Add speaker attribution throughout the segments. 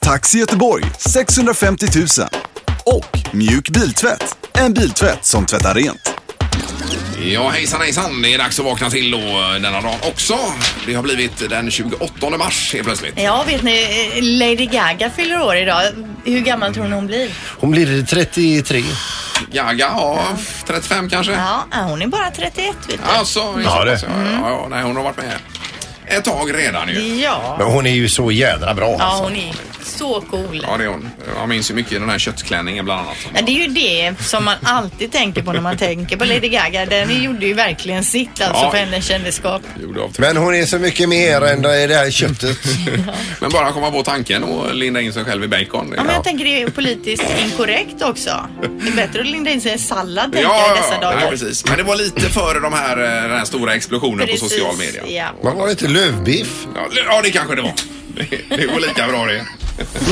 Speaker 1: Taxi Göteborg 650 000. Och Mjuk Biltvätt, en biltvätt som tvättar rent.
Speaker 2: Ja, hejsan hejsan. Det är dags att vakna till då eh, denna dag också. Det har blivit den 28 mars helt plötsligt.
Speaker 3: Ja, vet ni, eh, Lady Gaga fyller år idag. Hur gammal tror ni hon blir?
Speaker 4: Hon blir 33.
Speaker 2: Gaga, ja, 35 kanske?
Speaker 3: Ja, hon är bara 31 vet du.
Speaker 2: Alltså, i så
Speaker 4: Ja, det.
Speaker 2: pass, ja, ja, ja, nej, hon har varit med ett tag redan ju.
Speaker 3: Ja.
Speaker 4: Men hon är ju så jädra bra
Speaker 3: Ja,
Speaker 4: alltså.
Speaker 3: hon är så cool.
Speaker 2: Ja, det är hon. Jag minns ju mycket den här köttklänningen bland annat.
Speaker 3: Ja, det är ju det som man alltid tänker på när man tänker på Lady Gaga. Den gjorde ju verkligen sitt alltså
Speaker 2: Ja.
Speaker 3: för hennes kändisskap.
Speaker 2: Gjorde av
Speaker 4: Men hon är så mycket mer än det det här köttet.
Speaker 2: Men bara komma på tanken och linda in sig själv i bacon. det-
Speaker 3: Ja, men jag tänker det är politiskt inkorrekt också. Det är bättre att linda in sig i en sallad tänker jag i dessa dagar.
Speaker 2: nej, precis. Men det var lite före de här, eh, den här stora explosionen på
Speaker 3: Precis,
Speaker 2: social media.
Speaker 3: Ja.
Speaker 4: Man var inte lövbiff.
Speaker 2: Ja, ja, det kanske det var. Det, det går lika bra det.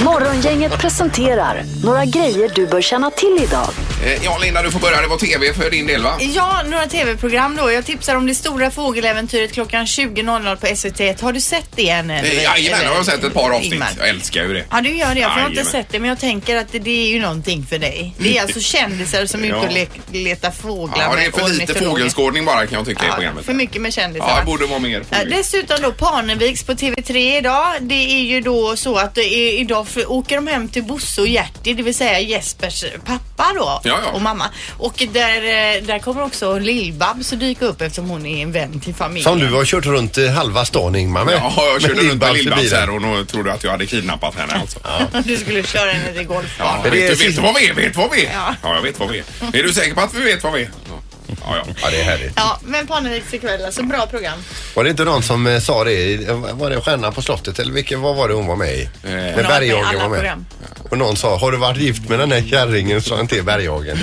Speaker 5: Morgongänget presenterar några grejer du bör känna till idag.
Speaker 2: Eh, Ja, Linda, du får börja. Det var tv för din del, va?
Speaker 3: Ja, några tv-program då. Jag tipsar om det stora fågeläventyret klockan 20.00 på SVT. Har du sett det än? eller-
Speaker 2: Eh, Jajamän,
Speaker 3: eller-
Speaker 2: jag har sett ett par avsnitt.
Speaker 3: Ingmar?
Speaker 2: Jag älskar ju det.
Speaker 3: Ja, du gör det. För jag har inte
Speaker 2: Jajamän.
Speaker 3: sett det, men jag tänker att det, det är ju någonting för dig. Det är alltså kändisar som är ute
Speaker 2: Ja.
Speaker 3: och le letar fåglar
Speaker 2: Ja, det är
Speaker 3: med
Speaker 2: för lite
Speaker 3: ornitologer.
Speaker 2: fågelskådning bara kan jag tycka i
Speaker 3: Ja,
Speaker 2: programmet.
Speaker 3: för mycket med kändisar.
Speaker 2: Ja,
Speaker 3: va?
Speaker 2: det borde vara mer
Speaker 3: Eh,
Speaker 2: fågel.
Speaker 3: Dessutom då Parneviks på TV3 idag. Det är ju då så att det är, idag f- åker de hem till Bosse och Gerti, det vill säga Jespers pappa då
Speaker 2: Ja, ja.
Speaker 3: och mamma. Och där, eh, där kommer också Lill-Babs att dyka upp eftersom hon är en vän till familjen.
Speaker 4: Som du har kört runt eh, halva stan Ingmar med.
Speaker 2: Ja, jag körde runt med
Speaker 4: Lill-Babs i
Speaker 2: Lill-Babs
Speaker 4: bilen.
Speaker 2: här och nog trodde att jag hade kidnappat henne alltså. Ja.
Speaker 3: Du skulle köra henne till golfbanan.
Speaker 2: vet,
Speaker 4: det är
Speaker 2: du, vet
Speaker 4: sist-
Speaker 2: du vad vi är? Vet du vad vi är? Ja.
Speaker 3: Ja.
Speaker 2: jag vet vad vi är. Är du säker på att vi vet vad vi är? Ja, ja.
Speaker 4: Ja, det är härligt.
Speaker 3: Ja, men Parneviks ikväll alltså. Bra program.
Speaker 4: Var det inte någon som eh, sa det? i- Var det Stjärna på slottet eller vilken, vad var det hon var med i?
Speaker 2: Eh.
Speaker 4: När
Speaker 3: Hon har varit med i
Speaker 4: Berghagen
Speaker 3: alla
Speaker 4: var med.
Speaker 3: program.
Speaker 4: Och någon sa, har du varit gift med den här kärringen? Sa han till Berghagen.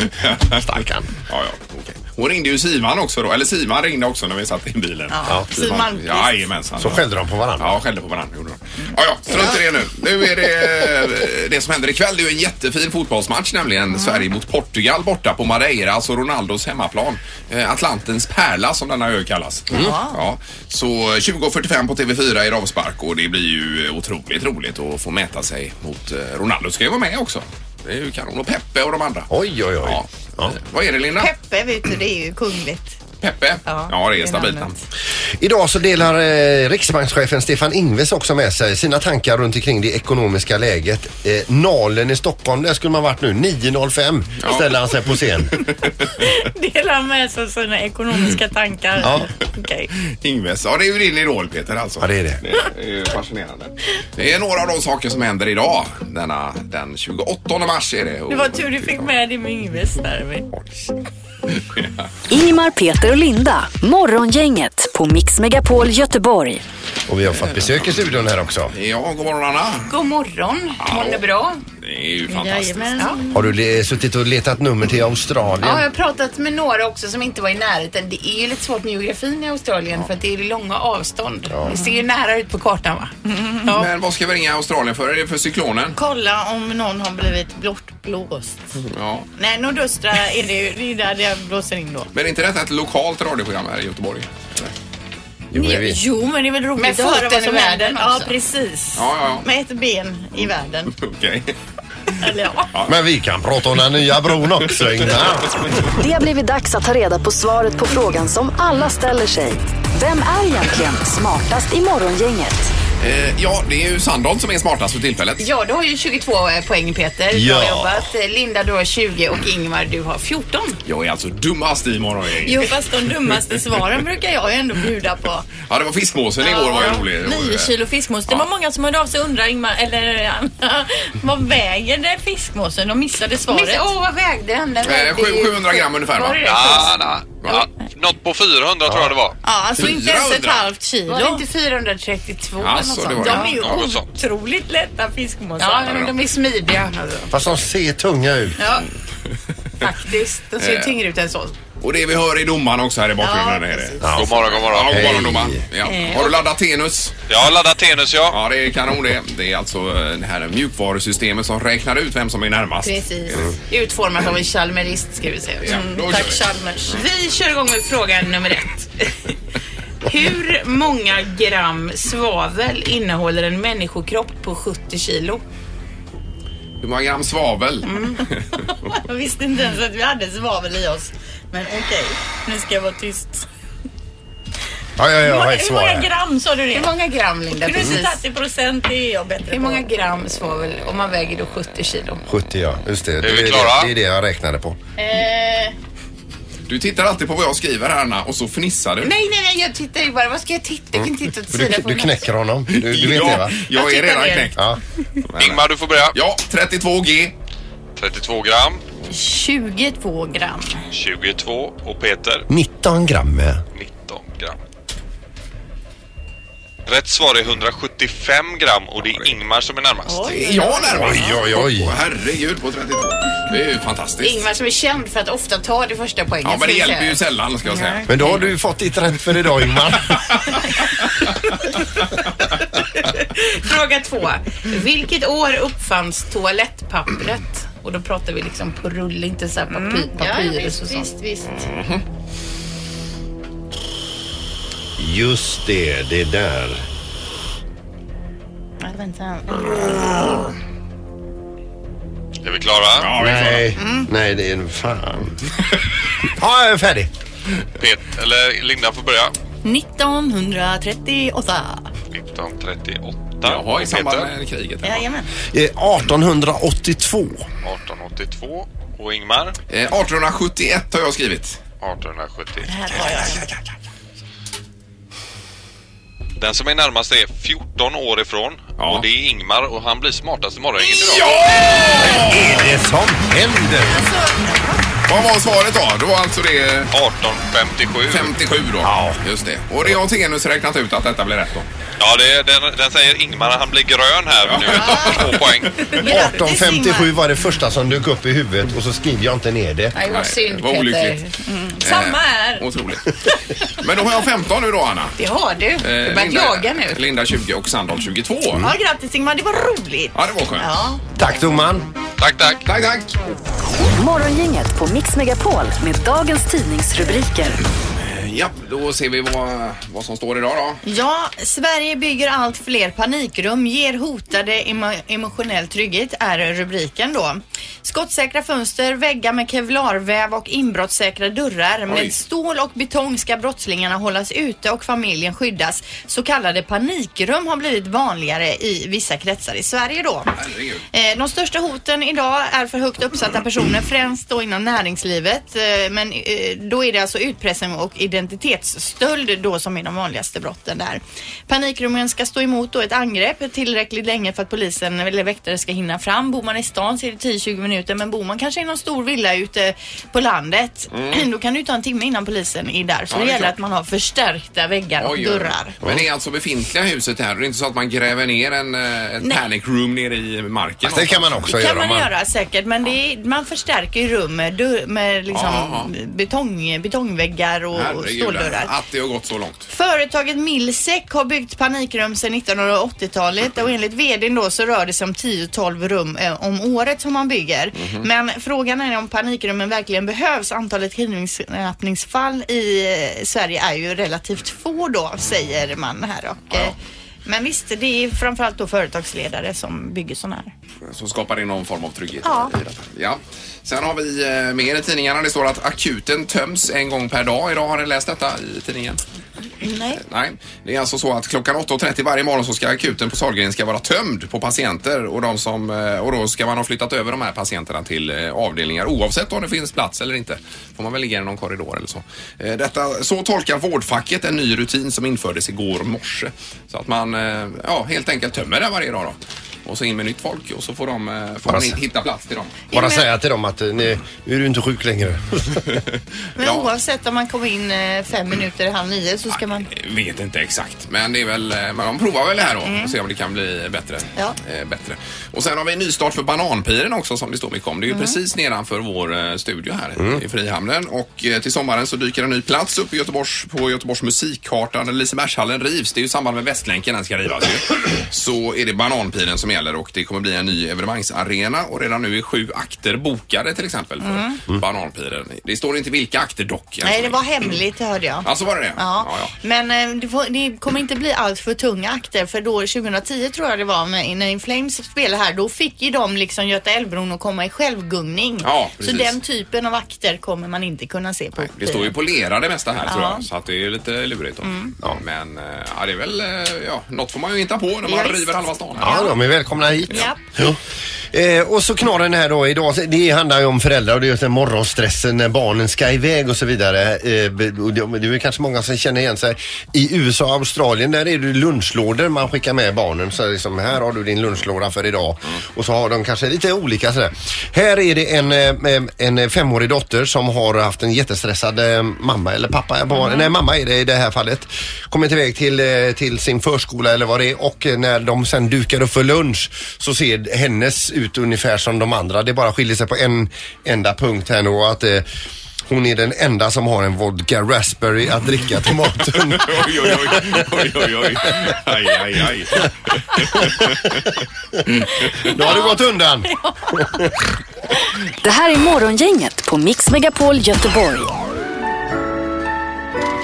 Speaker 4: Stackarn.
Speaker 2: Ja, ja. okej. Hon ringde ju Sivan också då. Eller Sivan ringde också när vi satt i bilen.
Speaker 3: Ja. Siw Malmkvist.
Speaker 2: Jajamensan.
Speaker 4: Så skällde de på varandra.
Speaker 2: Ja, skällde på varandra. Gjorde de. Ja, ja, strunt i det nu. Nu är det eh, det som händer ikväll. Det är ju en jättefin fotbollsmatch nämligen. Sverige mot Portugal borta på Madeira, alltså Ronaldos hemmaplan. Eh, Atlantens pärla som denna ö kallas. Ja, så 20.45 på TV4 är det avspark och det blir ju eh, otroligt roligt att få mäta sig mot eh, Ronaldo. Ska ju vara med också. Det är ju kanon. Och Peppe och de andra.
Speaker 4: Oj, oj, oj.
Speaker 2: Ja. Eh,
Speaker 4: Ja.
Speaker 2: Vad är det Linda?
Speaker 3: Peppe vet du, det är ju kungligt.
Speaker 2: Peppe? Ja,
Speaker 3: Ja,
Speaker 2: det
Speaker 3: det
Speaker 2: är
Speaker 3: är
Speaker 2: stabilt namn.
Speaker 3: namnet.
Speaker 4: Idag så delar eh, riksbankschefen Stefan Ingves också med sig sina tankar runt omkring det ekonomiska läget. Eh, Nalen i Stockholm, där skulle man varit nu. 9.05
Speaker 2: Ja.
Speaker 4: ställer han sig på scen.
Speaker 3: Delar med sig av sina ekonomiska tankar.
Speaker 4: Ja.
Speaker 3: Okej.
Speaker 2: Ingves. Ja, det är ju din idol Peter alltså.
Speaker 4: Ja, det är det.
Speaker 2: Det är ju fascinerande. Det är några av de saker som händer idag. Denna, den 28 mars är det.
Speaker 3: Det var tur du fick med det med Yngves där.
Speaker 5: Ingemar, Peter och Linda. Morgongänget på Mix Megapol Göteborg.
Speaker 4: Och vi har fått besök i studion här också.
Speaker 2: Ja, god morgon Anna.
Speaker 6: God morgon. Mår ni bra?
Speaker 2: Det är ju fantastiskt.
Speaker 3: Jajamän.
Speaker 4: Har du le- suttit och letat nummer till Australien?
Speaker 6: Ja, jag har pratat med några också som inte var i närheten. Det är ju lite svårt med geografin i Australien för att det är långa avstånd. Det ser ju nära ut på kartan va? Ja.
Speaker 2: Men vad ska vi ringa Australien för? Är det för cyklonen?
Speaker 3: Kolla om någon har blivit blåst.
Speaker 2: Ja.
Speaker 3: Nej, nordöstra är det ju. Det är ju där det blåser in då.
Speaker 2: Men är inte detta ett lokalt radioprogram här i Göteborg?
Speaker 4: Jo, det är vi.
Speaker 3: Jo, men det är väl roligt
Speaker 6: Med
Speaker 3: att
Speaker 6: foten
Speaker 3: höra vad
Speaker 6: i
Speaker 3: som
Speaker 6: världen
Speaker 3: händer. Ja,
Speaker 6: också.
Speaker 3: precis.
Speaker 2: Ja, ja, ja.
Speaker 3: Med ett ben i världen.
Speaker 2: Okej.
Speaker 3: Eller ja.
Speaker 4: Men vi kan prata om den nya bron också Ingmar.
Speaker 5: Det har blivit dags att ta reda på svaret på frågan som alla ställer sig. Vem är egentligen smartast i morgongänget?
Speaker 2: Eh, ja, det är ju Sandholt som är smartast för tillfället.
Speaker 6: ja, du har ju 22 poäng Peter. Du har
Speaker 4: Ja.
Speaker 6: jobbat. Linda du har 20 och Ingmar du har 14.
Speaker 2: Jag är alltså dummast i morgon.
Speaker 3: Jo, fast de dummaste svaren brukar jag ju ändå bjuda på.
Speaker 2: Ja, det var fiskmåsen igår var ju eh, rolig.
Speaker 3: Nio kilo fiskmås. Det var många som hörde av sig och undrade, Ingmar, eller Anna, vad väger det fiskmåsen? De missade svaret.
Speaker 6: Miss- Åh, vad vägde den? Den
Speaker 2: Eh,
Speaker 6: vägde ju-
Speaker 2: 700 gram ungefär va?
Speaker 6: Var det det?
Speaker 2: Ja, ja.
Speaker 7: Något på 400 tror jag det var.
Speaker 3: Ja, alltså inte ens ett
Speaker 2: 400.
Speaker 3: halvt kilo.
Speaker 6: Var det inte 432 eller något
Speaker 2: Alltså, det
Speaker 6: sånt?
Speaker 2: var det.
Speaker 6: De
Speaker 3: De är ju
Speaker 2: Ja,
Speaker 7: något sånt.
Speaker 3: otroligt lätta fiskmåsar.
Speaker 6: Ja, men de är smidiga. Alltså.
Speaker 4: Fast de ser tunga ut.
Speaker 6: Ja, faktiskt. De
Speaker 2: Eh.
Speaker 6: ser ju tyngre ut än så.
Speaker 2: Och det vi hör i domaren också här i bakgrunden.
Speaker 6: Ja,
Speaker 2: är det.
Speaker 6: precis. Eh,
Speaker 2: Ja,
Speaker 7: God morgon, god morgon.
Speaker 2: god morgon
Speaker 4: Hej.
Speaker 2: domaren. Ja. Har du laddat Tenus?
Speaker 7: Jag har laddat Tenus ja.
Speaker 2: Ja, det är kanon det. Det är alltså eh, det här mjukvarusystemet som räknar ut vem som är närmast. Mm.
Speaker 6: Precis. Utformat av en chalmerist ska vi säga. Mm,
Speaker 2: Ja, då kör
Speaker 3: Tack
Speaker 2: vi.
Speaker 3: Chalmers.
Speaker 6: Vi kör igång med fråga nummer ett. Hur många gram svavel innehåller en människokropp på 70 kilo?
Speaker 2: Hur många gram svavel?
Speaker 6: Mm.
Speaker 3: Jag visste inte ens att vi hade svavel i oss. Men okej, nu ska jag vara tyst.
Speaker 4: Ja, ja, jag har ett
Speaker 3: Hur
Speaker 4: svar
Speaker 3: många
Speaker 4: här.
Speaker 3: gram sa du det?
Speaker 6: Hur många gram, Linda?
Speaker 3: Kunde du inte
Speaker 6: Precis.
Speaker 3: tagit i procent? Det är jag bättre
Speaker 6: Hur många
Speaker 3: på.
Speaker 6: gram svavel om man väger då 70 kilo?
Speaker 4: 70 ja, just det. Det
Speaker 7: vi
Speaker 4: det-
Speaker 7: klara?
Speaker 4: det är det jag räknade på.
Speaker 6: Eh,
Speaker 2: Du tittar alltid på vad jag skriver här Anna och så fnissar du.
Speaker 6: nej, nej, nej, jag tittar ju bara. Vad ska jag titta? Jag
Speaker 2: Mm.
Speaker 6: kan titta åt
Speaker 4: För du,
Speaker 6: sidan på
Speaker 4: du
Speaker 6: mig.
Speaker 4: knäcker honom. Du, du vet
Speaker 2: ja,
Speaker 4: det va?
Speaker 2: Jag
Speaker 6: Jag
Speaker 2: är
Speaker 6: tittar
Speaker 2: redan
Speaker 6: ner.
Speaker 2: knäckt.
Speaker 4: Ja.
Speaker 7: Ingmar du får börja.
Speaker 2: Ja, 32 G.
Speaker 7: 32 gram,
Speaker 3: 22 gram.
Speaker 7: 22 och Peter
Speaker 4: 19 gram.
Speaker 7: 19 gram. Rätt svar är 175 gram och det är Ingmar som är närmast.
Speaker 2: Det är jag närmast.
Speaker 4: Oj, oj, oj.
Speaker 2: Åh, herregud på 32. Det är ju fantastiskt.
Speaker 6: Ingmar som är känd för att ofta ta det första poängen.
Speaker 2: Ja, men
Speaker 6: ska
Speaker 2: det
Speaker 6: vi
Speaker 2: hjälper
Speaker 6: säga.
Speaker 2: ju sällan ska jag säga.
Speaker 4: Men då har du fått ditt rätt för idag Ingmar.
Speaker 6: Fråga två. Vilket år uppfanns toalettpappret? Och då pratar vi liksom på rull, inte så här papy-
Speaker 2: Mm.
Speaker 6: papyrus och sånt.
Speaker 4: Just det, det där.
Speaker 7: Är vi klara?
Speaker 2: Ja, vi är klara.
Speaker 4: Nej, nej det är en fan. Ja, jag är färdig.
Speaker 7: Pet, eller Linda får börja.
Speaker 3: 1938.
Speaker 7: 1938
Speaker 2: Jaha, i
Speaker 7: och
Speaker 2: samband
Speaker 7: Peter
Speaker 2: med kriget. här.
Speaker 3: Jajamän.
Speaker 4: Eh, 1882.
Speaker 7: 1882 och Ingmar
Speaker 2: Eh, 1871 har jag skrivit.
Speaker 7: 1870.
Speaker 3: Här har jag.
Speaker 7: Den som är närmast är 14 år ifrån
Speaker 2: Ja.
Speaker 7: och det är Ingmar och han blir smartast i morgongänget idag.
Speaker 4: Vad är det som händer?
Speaker 2: Vad var svaret då? Det var alltså det
Speaker 7: 1857.
Speaker 2: 57 då.
Speaker 4: Ja.
Speaker 2: Just det. Och det har Tenus räknat ut att detta blir rätt då.
Speaker 7: Ja, det, den, den säger Ingmar han blir grön här nu. Två poäng.
Speaker 4: 1857 var det första som dök upp i huvudet och så skrev jag inte ner det.
Speaker 6: Nej, vad
Speaker 2: Nej,
Speaker 6: synd
Speaker 2: vad
Speaker 6: Peter.
Speaker 2: olyckligt.
Speaker 3: Mm. Samma här.
Speaker 2: Eh, Otroligt. Men då har jag 15 nu då Anna. Eh,
Speaker 6: Det har du. Du har börjat jaga nu.
Speaker 2: Linda 20 och Sandal 22.
Speaker 3: Ja, grattis Ingmar, det var roligt.
Speaker 2: Ja, det var skönt.
Speaker 3: Mm. Ja.
Speaker 4: Tack domaren.
Speaker 7: Tack, tack.
Speaker 2: Tack, tack.
Speaker 5: Morgongänget på Mix Megapol med dagens tidningsrubriker.
Speaker 2: Ja, Eh, då ser vi vad, vad som står idag då.
Speaker 3: Ja, Sverige bygger allt fler panikrum, ger hotade emo- emotionell trygghet är rubriken då. Skottsäkra fönster, väggar med kevlarväv och inbrottssäkra dörrar.
Speaker 2: Oj.
Speaker 3: Med stål och betong ska brottslingarna hållas ute och familjen skyddas. Så kallade panikrum har blivit vanligare i vissa kretsar i Sverige då.
Speaker 2: Herregud.
Speaker 3: Eh, De största hoten idag är för högt uppsatta personer, främst då inom näringslivet. Eh, Men eh, då är det alltså utpressning och identitetsstöld då som är de vanligaste brotten där. Panikrummen ska stå emot då ett angrepp tillräckligt länge för att polisen eller väktare ska hinna fram. Bor man i stan så är det 10-20 minuter, men bor man kanske i någon stor villa ute på landet, då kan det ju ta en timme innan polisen är där. Så
Speaker 2: Mm. Ja, det är
Speaker 3: det gäller
Speaker 2: klart.
Speaker 3: att man har förstärkta väggar och
Speaker 2: Oj, oj.
Speaker 3: dörrar.
Speaker 2: Men det är alltså befintliga huset här. Det är inte så att man gräver ner en, eh, ett panic room nere i marken.
Speaker 4: Det kan man också
Speaker 3: Det
Speaker 4: göra.
Speaker 3: kan
Speaker 4: om
Speaker 3: man göra säkert men det är, man förstärker ju rum med, dörr- med liksom
Speaker 2: Ja,
Speaker 3: betong, betongväggar och
Speaker 2: Herregud,
Speaker 3: ståldörrar.
Speaker 2: Att det har gått så långt.
Speaker 3: Företaget Milsek har byggt panikrum sedan 1980-talet och enligt vdn då så rör det sig om 10-12 rum eh, om året som man bygger.
Speaker 2: Mhm.
Speaker 3: Men frågan är om panikrummen verkligen behövs. Antalet kidnappningsfall i eh, Sverige är ju relativt få då säger man här. Och, eh, Men visst, det är framförallt då företagsledare som bygger sådana här.
Speaker 2: Som skapar det någon form av trygghet.
Speaker 3: Ja.
Speaker 2: i detta. ja. Sen har vi eh, mer i tidningarna. Det står att akuten töms en gång per dag. Idag har ni läst detta i tidningen.
Speaker 3: Nej.
Speaker 2: Nej, det är alltså så att klockan 8.30 varje morgon så ska akuten på Sahlgrenska vara tömd på patienter och, de som, eh, och då ska man ha flyttat över de här patienterna till eh, avdelningar oavsett om det finns plats eller inte. Får man väl ligga i någon korridor eller så. Eh, Detta, så tolkar vårdfacket en ny rutin som infördes igår morse. Så att man eh, ja, helt enkelt tömmer det varje dag då. Och så in med nytt folk och så får, de, eh, får man
Speaker 4: se.
Speaker 2: hitta plats till dem.
Speaker 4: Bara säga till dem att eh, nej, nu är du inte sjuk längre.
Speaker 3: Men
Speaker 2: Ja.
Speaker 3: oavsett om man kommer in eh, fem minuter i halv nio så ska man...
Speaker 2: Jag Vet inte exakt, men det är väl, eh, men de provar väl det här då och ser om det kan bli bättre.
Speaker 3: Mm. Ja.
Speaker 2: Eh, bättre. Och sen har vi en nystart för bananpiren också som det står mycket om. Det
Speaker 3: Mm.
Speaker 2: är ju precis nedanför vår eh, studio här i Frihamnen och eh, till sommaren så dyker en ny plats upp i Göteborgs, på Göteborgs musikkarta när Lisebergshallen rivs. Det är ju i samband med Västlänken den ska rivas ju. Så är det bananpiren som gäller och det kommer bli en ny evenemangsarena och redan nu är sju akter bokade till exempel för bananpiren. Det står inte vilka akter dock. än så
Speaker 3: Mm. Nej, det
Speaker 2: länge.
Speaker 3: var hemligt hörde jag.
Speaker 2: Alltså var det det?
Speaker 3: Ja.
Speaker 2: ja.
Speaker 3: Men eh, det, får, det kommer inte bli allt för tunga akter för då 2010 tror jag det var med, när In Flames spelade här då fick ju de liksom Göta Älvbron att komma i självgungning.
Speaker 2: Ja,
Speaker 3: så
Speaker 2: precis.
Speaker 3: den typen av akter kommer man inte kunna se på.
Speaker 2: Nej, det står ju polera det mesta här tror
Speaker 3: Ja.
Speaker 2: jag, så att det är lite lurigt. Då. Ja, men eh, ja, det är väl, eh, ja, något får man ju hitta på när man
Speaker 3: Ja, visst.
Speaker 2: river halva stan.
Speaker 4: Ja, de är välkomna hit.
Speaker 3: Ja.
Speaker 4: Ja. Eh, och så knorren här då idag, det handlar ju om föräldrar och det är just den morgonstressen när barnen ska iväg och så vidare. Eh, be- och det det är väl kanske många som känner igen sig. I USA och Australien där är det lunchlådor man skickar med barnen. Så liksom, här har du din lunchlåda för idag. Och så har de kanske lite olika sådär. Här är det en, eh, en femårig dotter som har haft en jättestressad eh, mamma eller pappa. Barn,
Speaker 6: Mm-hmm.
Speaker 4: Nej, mamma är det i det här fallet. Kommit iväg till, eh, till sin förskola eller vad det är och eh, när de sen dukar upp för lunch så ser hennes ut ungefär som de andra. Det bara skiljer sig på en enda punkt här nu och att eh, hon är den enda som har en vodka raspberry att dricka till maten.
Speaker 2: Oj, oj, oj, oj, oj, oj, aj, aj, aj.
Speaker 4: Då har det gått undan.
Speaker 5: Det här är Morgongänget på Mix Megapol Göteborg.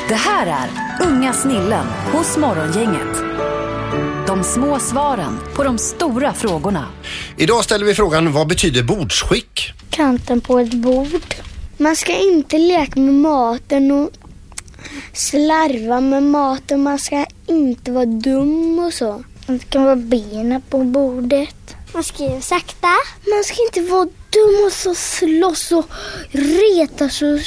Speaker 5: Det här är Unga snillen hos Morgongänget. De små svaren på de stora frågorna.
Speaker 4: Idag ställer vi frågan vad betyder bordsskick?
Speaker 8: kanten på ett bord. Man ska inte leka med maten och slarva med maten. Man ska inte vara dum och så. Man ska vara benen på bordet. Man ska ju sakta. Man ska inte vara dum och så slåss och retas och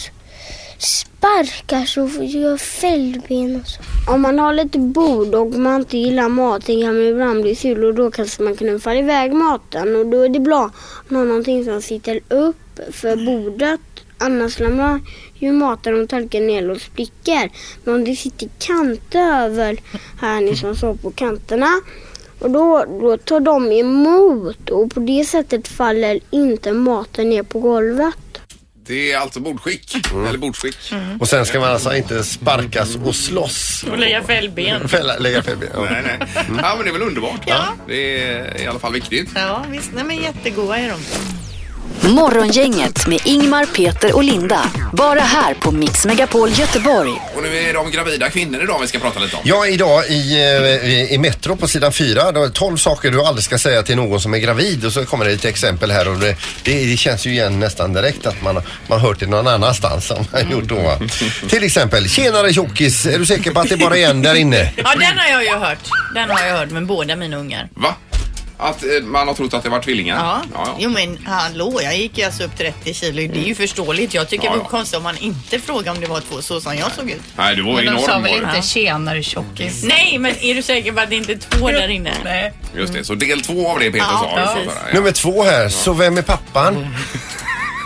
Speaker 8: sparkar så gör fällben och så. Om man har lite bord och man inte gillar maten kan man ibland bli sur och då kanske man kan falla iväg maten och då är det bra om man har någonting som sitter upp för bordet. Annars ramlar ju maten och tallriken ner och spricker. Men om det sitter kanter över här ni som står på kanterna och då, då tar de emot och på det sättet faller inte maten ner på golvet.
Speaker 2: Det är alltså bordskick, eller bordskick.
Speaker 4: Och sen ska man alltså inte sparkas och slåss.
Speaker 6: Och lägga fällben.
Speaker 4: Fälla, lägga fällben. Ja.
Speaker 2: Nej, nej. Ja, men det är väl underbart. Ja. Det är i alla fall viktigt.
Speaker 3: Ja, visst. Nej, men jättegoda är de.
Speaker 5: Morgongänget med Ingmar, Peter och Linda. Bara här på Mix Megapol Göteborg.
Speaker 2: Och nu är de gravida kvinnor idag vi ska prata lite om.
Speaker 4: Ja, idag i, eh, i Metro på sidan 4, då är 12 saker du aldrig ska säga till någon som är gravid och så kommer det lite exempel här och det, det, det känns ju igen nästan direkt att man, man hört det någon annanstans som man gjort då. va? Till exempel, tjenare tjockis, är du säker på att det bara är en där inne?
Speaker 6: Ja, den har jag ju hört. Den har jag hört med båda mina ungar.
Speaker 2: Va? Att eh, man har trott att det var tvillingar?
Speaker 3: Ja. Jo men hallå, jag gick ju alltså upp 30 kilo. Det är ju förståeligt. Jag tycker
Speaker 2: Mm. Ja,
Speaker 3: det
Speaker 2: ja.
Speaker 3: vore konstigt om man inte frågade om det var två så som jag såg ut.
Speaker 2: Nej, du var
Speaker 6: Men de sa
Speaker 2: enorm.
Speaker 6: väl
Speaker 2: var
Speaker 6: inte
Speaker 2: du.
Speaker 6: tjenare tjockis?
Speaker 8: Nej, men är du säker på att det inte är två där inne?
Speaker 6: Nej.
Speaker 2: Just det, så del två av det Peter
Speaker 3: Ja,
Speaker 2: sa.
Speaker 3: precis.
Speaker 2: Ja.
Speaker 4: Nummer två här, så vem är pappan?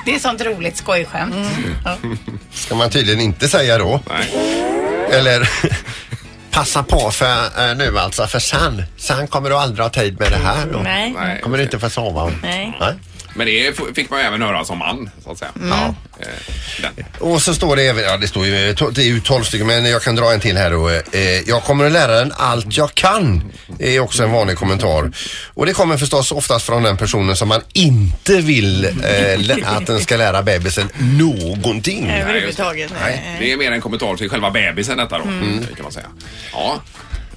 Speaker 6: Det är sånt roligt skojskämt.
Speaker 3: Mm.
Speaker 6: Ja.
Speaker 4: Ska man tydligen inte säga då.
Speaker 2: Nej.
Speaker 4: Eller passa på för eh, nu alltså, för sen, sen kommer du aldrig ha tid med det här då.
Speaker 8: Nej.
Speaker 2: Nej.
Speaker 4: Kommer du inte få sova?
Speaker 8: Nej.
Speaker 4: Nej.
Speaker 2: Men det f- fick man ju även höra som man, så att säga.
Speaker 3: Mm.
Speaker 2: Ja. Eh, den.
Speaker 4: Och så står det även, ja det står ju, eh, to- det är ju 12 stycken men jag kan dra en till här då. Eh, jag kommer att lära den allt jag kan. Det är också en vanlig kommentar. Och det kommer förstås oftast från den personen som man inte vill eh, lä- att den ska lära bebisen någonting.
Speaker 3: Överhuvudtaget. Mm.
Speaker 2: Det är mer en kommentar till själva bebisen detta då, kan man säga. Ja.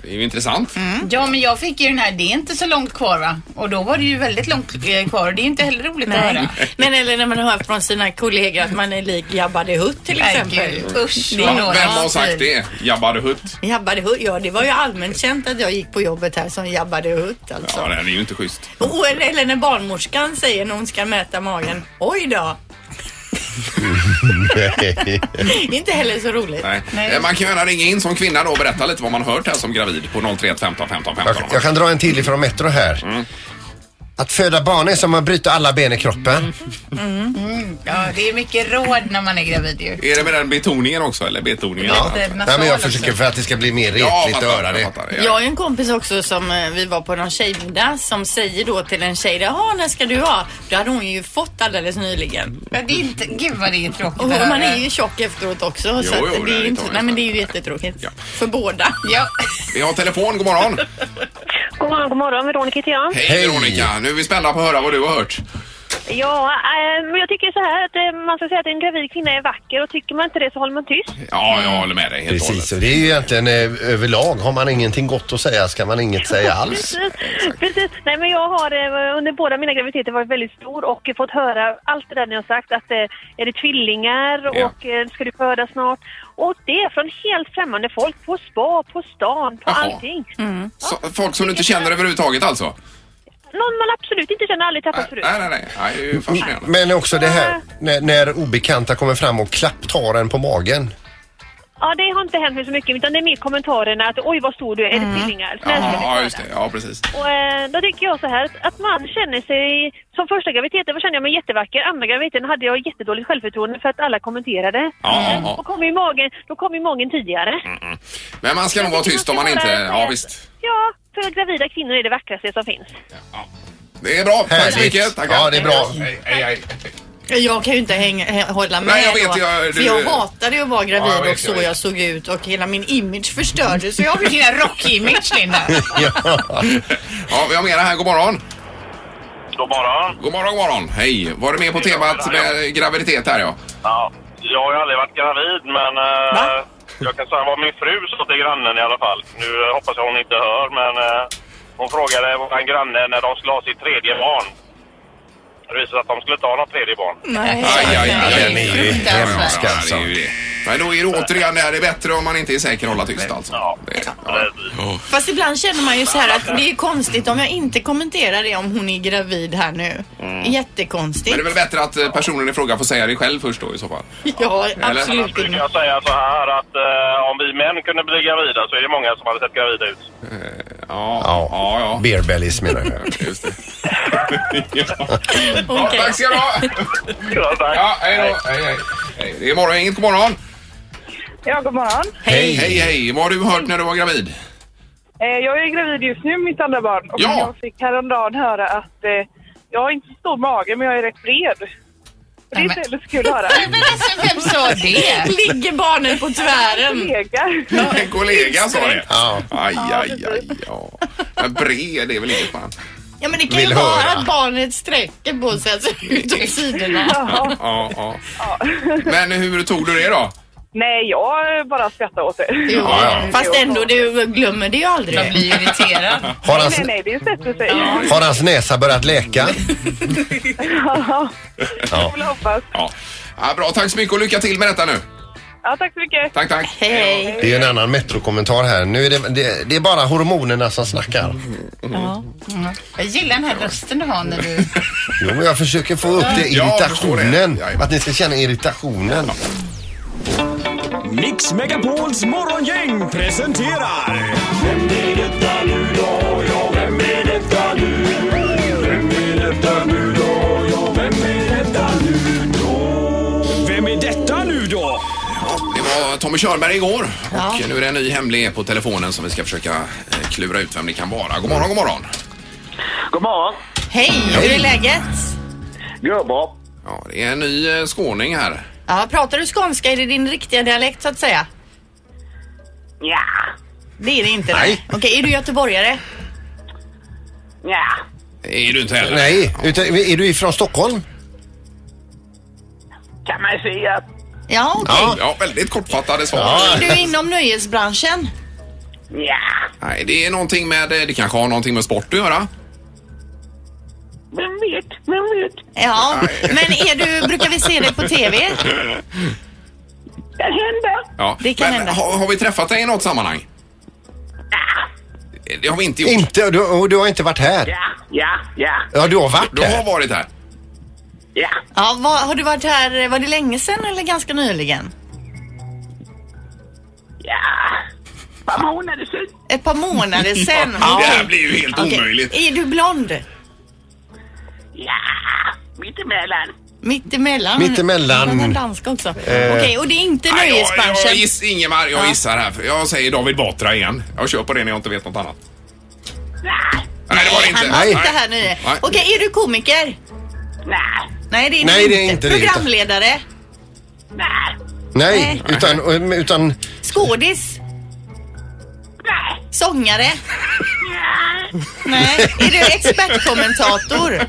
Speaker 2: Det är ju intressant.
Speaker 6: Ja, men jag fick ju den här, det är inte så långt kvar va? Och då var det ju väldigt långt eh, kvar och det är inte heller roligt att höra.
Speaker 3: Nej. Men eller när man hör från sina kollegor att man är lik Jabba the Hutt till
Speaker 6: Nej,
Speaker 3: exempel.
Speaker 6: gud, usch,
Speaker 3: Det är
Speaker 2: Vem
Speaker 3: några
Speaker 2: har
Speaker 3: som
Speaker 2: sagt
Speaker 3: säger-
Speaker 2: det? Jabba the Hutt?
Speaker 3: Jabba the Hutt, ja det var ju allmänt känt att jag gick på jobbet här som Jabba the Hutt alltså.
Speaker 2: Ja, den är ju inte schysst.
Speaker 3: Och, eller, eller när barnmorskan säger när hon ska mäta magen, oj då, inte heller så roligt.
Speaker 2: Nej. Eh, Man kan ju gärna ringa in som kvinna då och berätta lite vad man hört här som gravid på 031 15 15 15.
Speaker 4: Jag, jag kan dra en till ifrån Metro här. Att föda barn är som att bryta alla ben i kroppen.
Speaker 6: Mm. Ja, det är mycket råd när man är gravid ju.
Speaker 2: Är det med den betoningen också eller betoningen?
Speaker 4: Ja.
Speaker 6: Lite nasal
Speaker 4: Nej, men jag
Speaker 6: också.
Speaker 4: försöker för att det ska bli mer
Speaker 2: Ja,
Speaker 4: retligt att
Speaker 2: fattar,
Speaker 4: höra det.
Speaker 2: fattar.
Speaker 3: Jag har ju en kompis också som eh, vi var på någon tjejmiddag som säger då till en tjej, jaha när ska du ha? Det hade hon ju fått alldeles nyligen.
Speaker 6: Ja, det är inte, gud vad det är tråkigt
Speaker 3: Och
Speaker 6: att höra.
Speaker 3: man är ju tjock efteråt också.
Speaker 2: Jo,
Speaker 3: så att
Speaker 2: jo,
Speaker 3: det,
Speaker 2: det är
Speaker 3: är ju inte,
Speaker 2: lite
Speaker 3: nej men det är ju jättetråkigt.
Speaker 2: Ja.
Speaker 3: För båda.
Speaker 6: Ja.
Speaker 2: Vi har telefon, god morgon.
Speaker 9: God morgon, god morgon. Veronica heter jag.
Speaker 2: Hej Veronica, nu är vi spända på att höra vad du har hört.
Speaker 9: Ja, eh, men jag tycker så här att eh, man ska säga att en gravid kvinna är vacker och tycker man inte det så håller man tyst.
Speaker 2: Ja, jag håller med dig helt och hållet.
Speaker 4: Precis, och det är ju egentligen eh, överlag. Har man ingenting gott att säga ska man inget säga alls.
Speaker 9: Precis. Precis. Nej, men jag har eh, under båda mina graviditeter varit väldigt stor och fått höra allt det där ni har sagt. Att eh, är det tvillingar
Speaker 2: Ja.
Speaker 9: och eh, ska du föda snart? Och det är från helt främmande folk. På spa, på stan, på
Speaker 2: Jaha.
Speaker 9: allting.
Speaker 4: Mm.
Speaker 2: Så, folk som du inte känner överhuvudtaget alltså?
Speaker 9: Någon man absolut inte känner, aldrig träffat förut.
Speaker 2: Nej, nej, nej. nej det är ju fascinerande.
Speaker 4: Mm. Men också det här när, när obekanta kommer fram och klapptar en på magen.
Speaker 9: Ja, det har inte hänt mig så mycket, utan det är mer kommentarerna att oj vad stor du är, är det tvillingar? Snälla, ska vi
Speaker 2: Ja,
Speaker 9: föda?
Speaker 2: just det. Ja, precis.
Speaker 9: Och eh, då tycker jag så här att, att man känner sig, som första graviditeten var kände jag mig jättevacker, andra graviditeten hade jag jättedåligt självförtroende för att alla kommenterade.
Speaker 2: Ja,
Speaker 9: Då
Speaker 2: ja.
Speaker 9: kom ju magen, då kom ju magen tidigare.
Speaker 2: Men man ska nog vara tyst om man inte... Ja, visst.
Speaker 9: Ja, för gravida kvinnor är det vackraste som finns.
Speaker 2: Det är bra. Tack så
Speaker 4: Härligt.
Speaker 2: mycket. Tackar.
Speaker 4: Ja, det är bra.
Speaker 2: Hej, hej, hej.
Speaker 3: Jag kan ju inte hänga, hä- hålla med
Speaker 2: Nej, jag vet,
Speaker 3: då.
Speaker 2: jag-
Speaker 3: För
Speaker 2: du-
Speaker 3: jag hatade ju att vara gravid
Speaker 2: Ja, jag vet,
Speaker 3: och så
Speaker 2: jag vet.
Speaker 3: jag, såg ut och hela min image förstördes. Så jag vill
Speaker 6: Vilken rockimage Linda.
Speaker 4: Ja.
Speaker 2: Ja, vi har mera här. God morgon.
Speaker 7: God morgon.
Speaker 2: God morgon, god morgon. Hej. Var du med på temat med graviditet här, ja?
Speaker 7: Ja, jag har ju aldrig varit gravid, men eh,
Speaker 3: Va?
Speaker 7: jag kan säga vad min fru sa till grannen i alla fall. Nu eh, hoppas jag hon inte hör, men eh, hon frågade vår granne när de skulle ha sitt tredje barn. Det visade sig att de skulle inte ha något tredje barn.
Speaker 3: Nej.
Speaker 2: Aj, aj, aj.
Speaker 4: Den är ju hemsk
Speaker 2: Ja, det
Speaker 4: alltså.
Speaker 2: är ju det. Men då är det återigen det här, det är bättre om man inte är säker att hålla tyst alltså.
Speaker 7: Ja.
Speaker 2: Det-
Speaker 7: Precis.
Speaker 3: Fast ibland känner man ju så här att det är konstigt om jag inte kommenterar det om hon är gravid här nu.
Speaker 2: Men
Speaker 3: Jättekonstigt.
Speaker 2: det är väl bättre att eh, personen i fråga får säga det själv först då i så fall.
Speaker 3: Ja,
Speaker 2: Eller?
Speaker 3: absolut
Speaker 7: Brukar
Speaker 3: inte.
Speaker 7: jag säga så här att eh, om vi män kunde bli gravida så är det många som hade sett gravida ut.
Speaker 2: Ja, ja,
Speaker 4: Ja,
Speaker 2: ja.
Speaker 4: beer bellies menar jag.
Speaker 2: Just det. ja. Ja,
Speaker 3: Okej.
Speaker 2: tack ska du ha!
Speaker 7: Ja, tack.
Speaker 2: Ja, hej då! Hej, hej. Hej. Det är morgon, inget god morgon!
Speaker 9: Ja, god morgon.
Speaker 4: Hej!
Speaker 2: Hej, hej! Vad har du hört när du var gravid?
Speaker 9: Eh, Jag är gravid just nu, mitt andra barn.
Speaker 2: Och Ja. jag
Speaker 9: fick häromdagen höra att eh, jag har inte så stor mage, men jag är rätt bred. Det
Speaker 6: är inte
Speaker 9: heller så kul att höra.
Speaker 6: Men alltså vem sa det?
Speaker 3: Ligger barnen på tvären?
Speaker 2: En kollega sa det.
Speaker 4: Ja.
Speaker 2: Aj, aj, aj, ja. Men bred är väl inget man.
Speaker 3: Ja men det kan
Speaker 4: Vill
Speaker 3: ju vara
Speaker 4: höra.
Speaker 3: att barnet sträcker på sig alltså utåt sidorna.
Speaker 2: Ja, ja. Men hur tog du det då?
Speaker 9: Nej, jag bara skrattar åt det.
Speaker 3: Jo,
Speaker 2: Ja, ja.
Speaker 3: Fast ändå, du glömmer det ju
Speaker 6: Jag
Speaker 3: aldrig.
Speaker 6: blir ju irriterad.
Speaker 4: Har hans,
Speaker 9: nej, det sätter sig.
Speaker 4: har hans näsa börjat läka? Ja.
Speaker 9: hoppas.
Speaker 2: Ja. Ja, bra, tack så mycket och lycka till med detta nu.
Speaker 9: Ja, tack så mycket.
Speaker 2: Tack, tack.
Speaker 3: Hej, hej.
Speaker 4: Det är en annan metrokommentar här. Nu är det, det, det är bara hormonerna som snackar.
Speaker 6: Jag gillar den här rösten du har när du...
Speaker 4: Jo, men jag försöker få upp det
Speaker 2: Ja, jag förstår det.
Speaker 4: irritationen.
Speaker 2: Ja, ja.
Speaker 4: Att ni ska känna irritationen.
Speaker 10: Mix Megapols morgongäng presenterar... Vem är detta nu då? Ja, vem är detta nu? Vem är detta nu då? Ja, vem är detta nu då? Vem är detta nu då?
Speaker 2: Det var Tommy Körberg igår och nu är det en ny hemlig på telefonen som vi ska försöka eh, klura ut vem det kan vara. God morgon, god morgon.
Speaker 10: God morgon.
Speaker 3: Hej, hur är läget?
Speaker 10: Gör bra.
Speaker 2: Ja, det är en ny eh, skåning här.
Speaker 3: Ja, pratar du skånska? Är det din riktiga dialekt så att säga?
Speaker 9: Ja,
Speaker 3: Det är det inte.
Speaker 4: Nej.
Speaker 3: Okej, är du göteborgare?
Speaker 9: ja.
Speaker 2: Är du inte heller?
Speaker 4: Nej, utan, är du ifrån Stockholm?
Speaker 9: Kan man säga att...
Speaker 3: Ja, okej.
Speaker 2: Ja, väldigt kortfattade svar.
Speaker 4: Ja.
Speaker 3: Är du inom nöjesbranschen?
Speaker 9: Ja,
Speaker 2: Nej, det är någonting med... eh, Det kanske har någonting med sport att göra?
Speaker 3: Vem vet, vem vet. Ja, men är du, brukar vi se dig på TV?
Speaker 9: det händer.
Speaker 2: Ja.
Speaker 3: Det kan
Speaker 2: Men
Speaker 3: hända.
Speaker 2: Har, har vi träffat dig i något sammanhang? Det har vi inte gjort.
Speaker 4: Inte, och du, och du har inte varit här?
Speaker 9: Ja, ja,
Speaker 4: Ja, du har varit
Speaker 2: Du har
Speaker 4: här.
Speaker 2: varit här.
Speaker 9: ja.
Speaker 3: Ja, vad, har du varit här, var det länge sedan eller ganska nyligen?
Speaker 9: Ett par månader sedan.
Speaker 3: Ett par månader sedan?
Speaker 9: Ja, det här
Speaker 3: Okej.
Speaker 9: blir ju helt
Speaker 3: Okej.
Speaker 9: omöjligt.
Speaker 3: Är du blond?
Speaker 9: Ja, mittemellan.
Speaker 3: Mittemellan?
Speaker 4: Mittemellan. Eh.
Speaker 3: Ja, Den danska också. Okej, och det är inte
Speaker 2: Nej, jag, jag
Speaker 3: nöjesbranschen?
Speaker 2: giss, Ingemar, jag
Speaker 3: Ja.
Speaker 2: gissar här. Jag säger David Batra igen. Jag kör på det när jag inte vet något annat. Nej, det var det inte.
Speaker 3: Han var inte här nu.
Speaker 2: Nej.
Speaker 3: Okej, är du komiker?
Speaker 9: Nej.
Speaker 3: Nej, det är
Speaker 4: Nej, det
Speaker 3: du
Speaker 4: är inte det, Rita.
Speaker 3: Programledare?
Speaker 4: Nej, utan, utan
Speaker 3: Skådis? Nej. Sångare? Nej. Är du expertkommentator?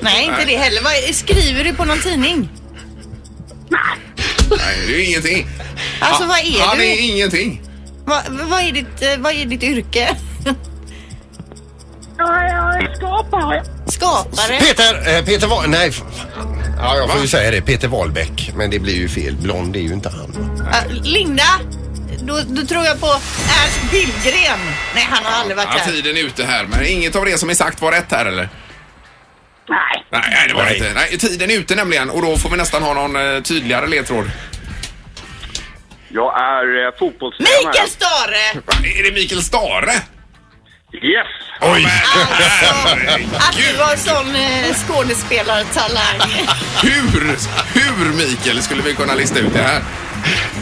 Speaker 3: Nej, inte det heller. Vad, skriver du på någon tidning?
Speaker 2: Nej, det är ju ingenting.
Speaker 3: Alltså, vad är
Speaker 2: Han
Speaker 3: du?
Speaker 2: är ingenting.
Speaker 3: Vad, vad, är ditt, eh, vad är ditt yrke?
Speaker 9: Jag är skapare.
Speaker 3: Skapare?
Speaker 4: Peter, eh, Peter Wahl... Nej, f- ja, jag får ju säga det. Peter Wahlbeck. Men det blir ju fel. Blond är ju inte han.
Speaker 3: Ah, Linda? Då, då tror jag på Ernst Billgren. Nej, han har aldrig varit
Speaker 2: Ja, typ.
Speaker 3: här.
Speaker 2: tiden är ute här, men inget av det som är sagt var rätt här eller?
Speaker 9: Nej.
Speaker 2: Nej, nej det var det
Speaker 4: Nej.
Speaker 2: inte. Nej, tiden är ute nämligen och då får vi nästan ha någon eh, tydligare ledtråd.
Speaker 7: Jag är eh, fotbollstränare.
Speaker 3: Mikael Stare!
Speaker 2: Va, Är det Mikael Stare?
Speaker 7: Yes!
Speaker 2: Oj!
Speaker 3: Alltså. Att du var sån eh, skådespelartalang.
Speaker 2: Hur, hur Mikael skulle vi kunna lista ut det här?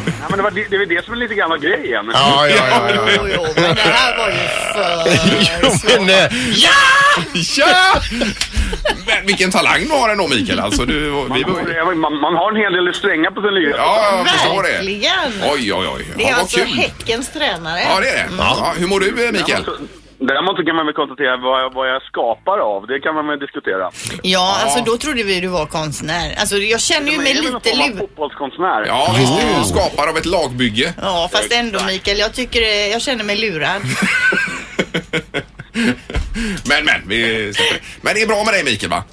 Speaker 7: Ja, men det, var, det, det är väl det som är lite grann grejen.
Speaker 4: Ja, ja, ja. ja,
Speaker 3: Jo, jo, men det här var ju för...
Speaker 4: Jo, men, eh,
Speaker 2: Ja! ja! Men vilken talang du har ändå Mikael. Alltså, du, vi, ja,
Speaker 7: Man, man, man har en hel del strängar på sin lyra.
Speaker 2: jag förstår det.
Speaker 3: Verkligen!
Speaker 2: Oj, oj, oj.
Speaker 3: Det är
Speaker 2: ja, vad
Speaker 3: alltså
Speaker 2: kul.
Speaker 3: Häckens tränare.
Speaker 2: Ja, det är det. Ja, hur mår du eh, Mikael?
Speaker 7: Däremot så- Däremot så kan man väl konstatera vad jag, vad jag skapar av. Det kan man väl diskutera.
Speaker 3: Ja, alltså då trodde vi du var konstnär. Alltså jag känner ju mig
Speaker 7: Jag är väl någon
Speaker 3: lite
Speaker 7: form av
Speaker 3: lur.
Speaker 7: fotbollskonstnär.
Speaker 2: Ja, visst. Du är ju skapare av ett lagbygge.
Speaker 3: Ja, fast ändå Mikael, jag tycker eh, jag känner mig lurad.
Speaker 2: Men, men. Vi släpper det. men det är bra med dig Mikael va?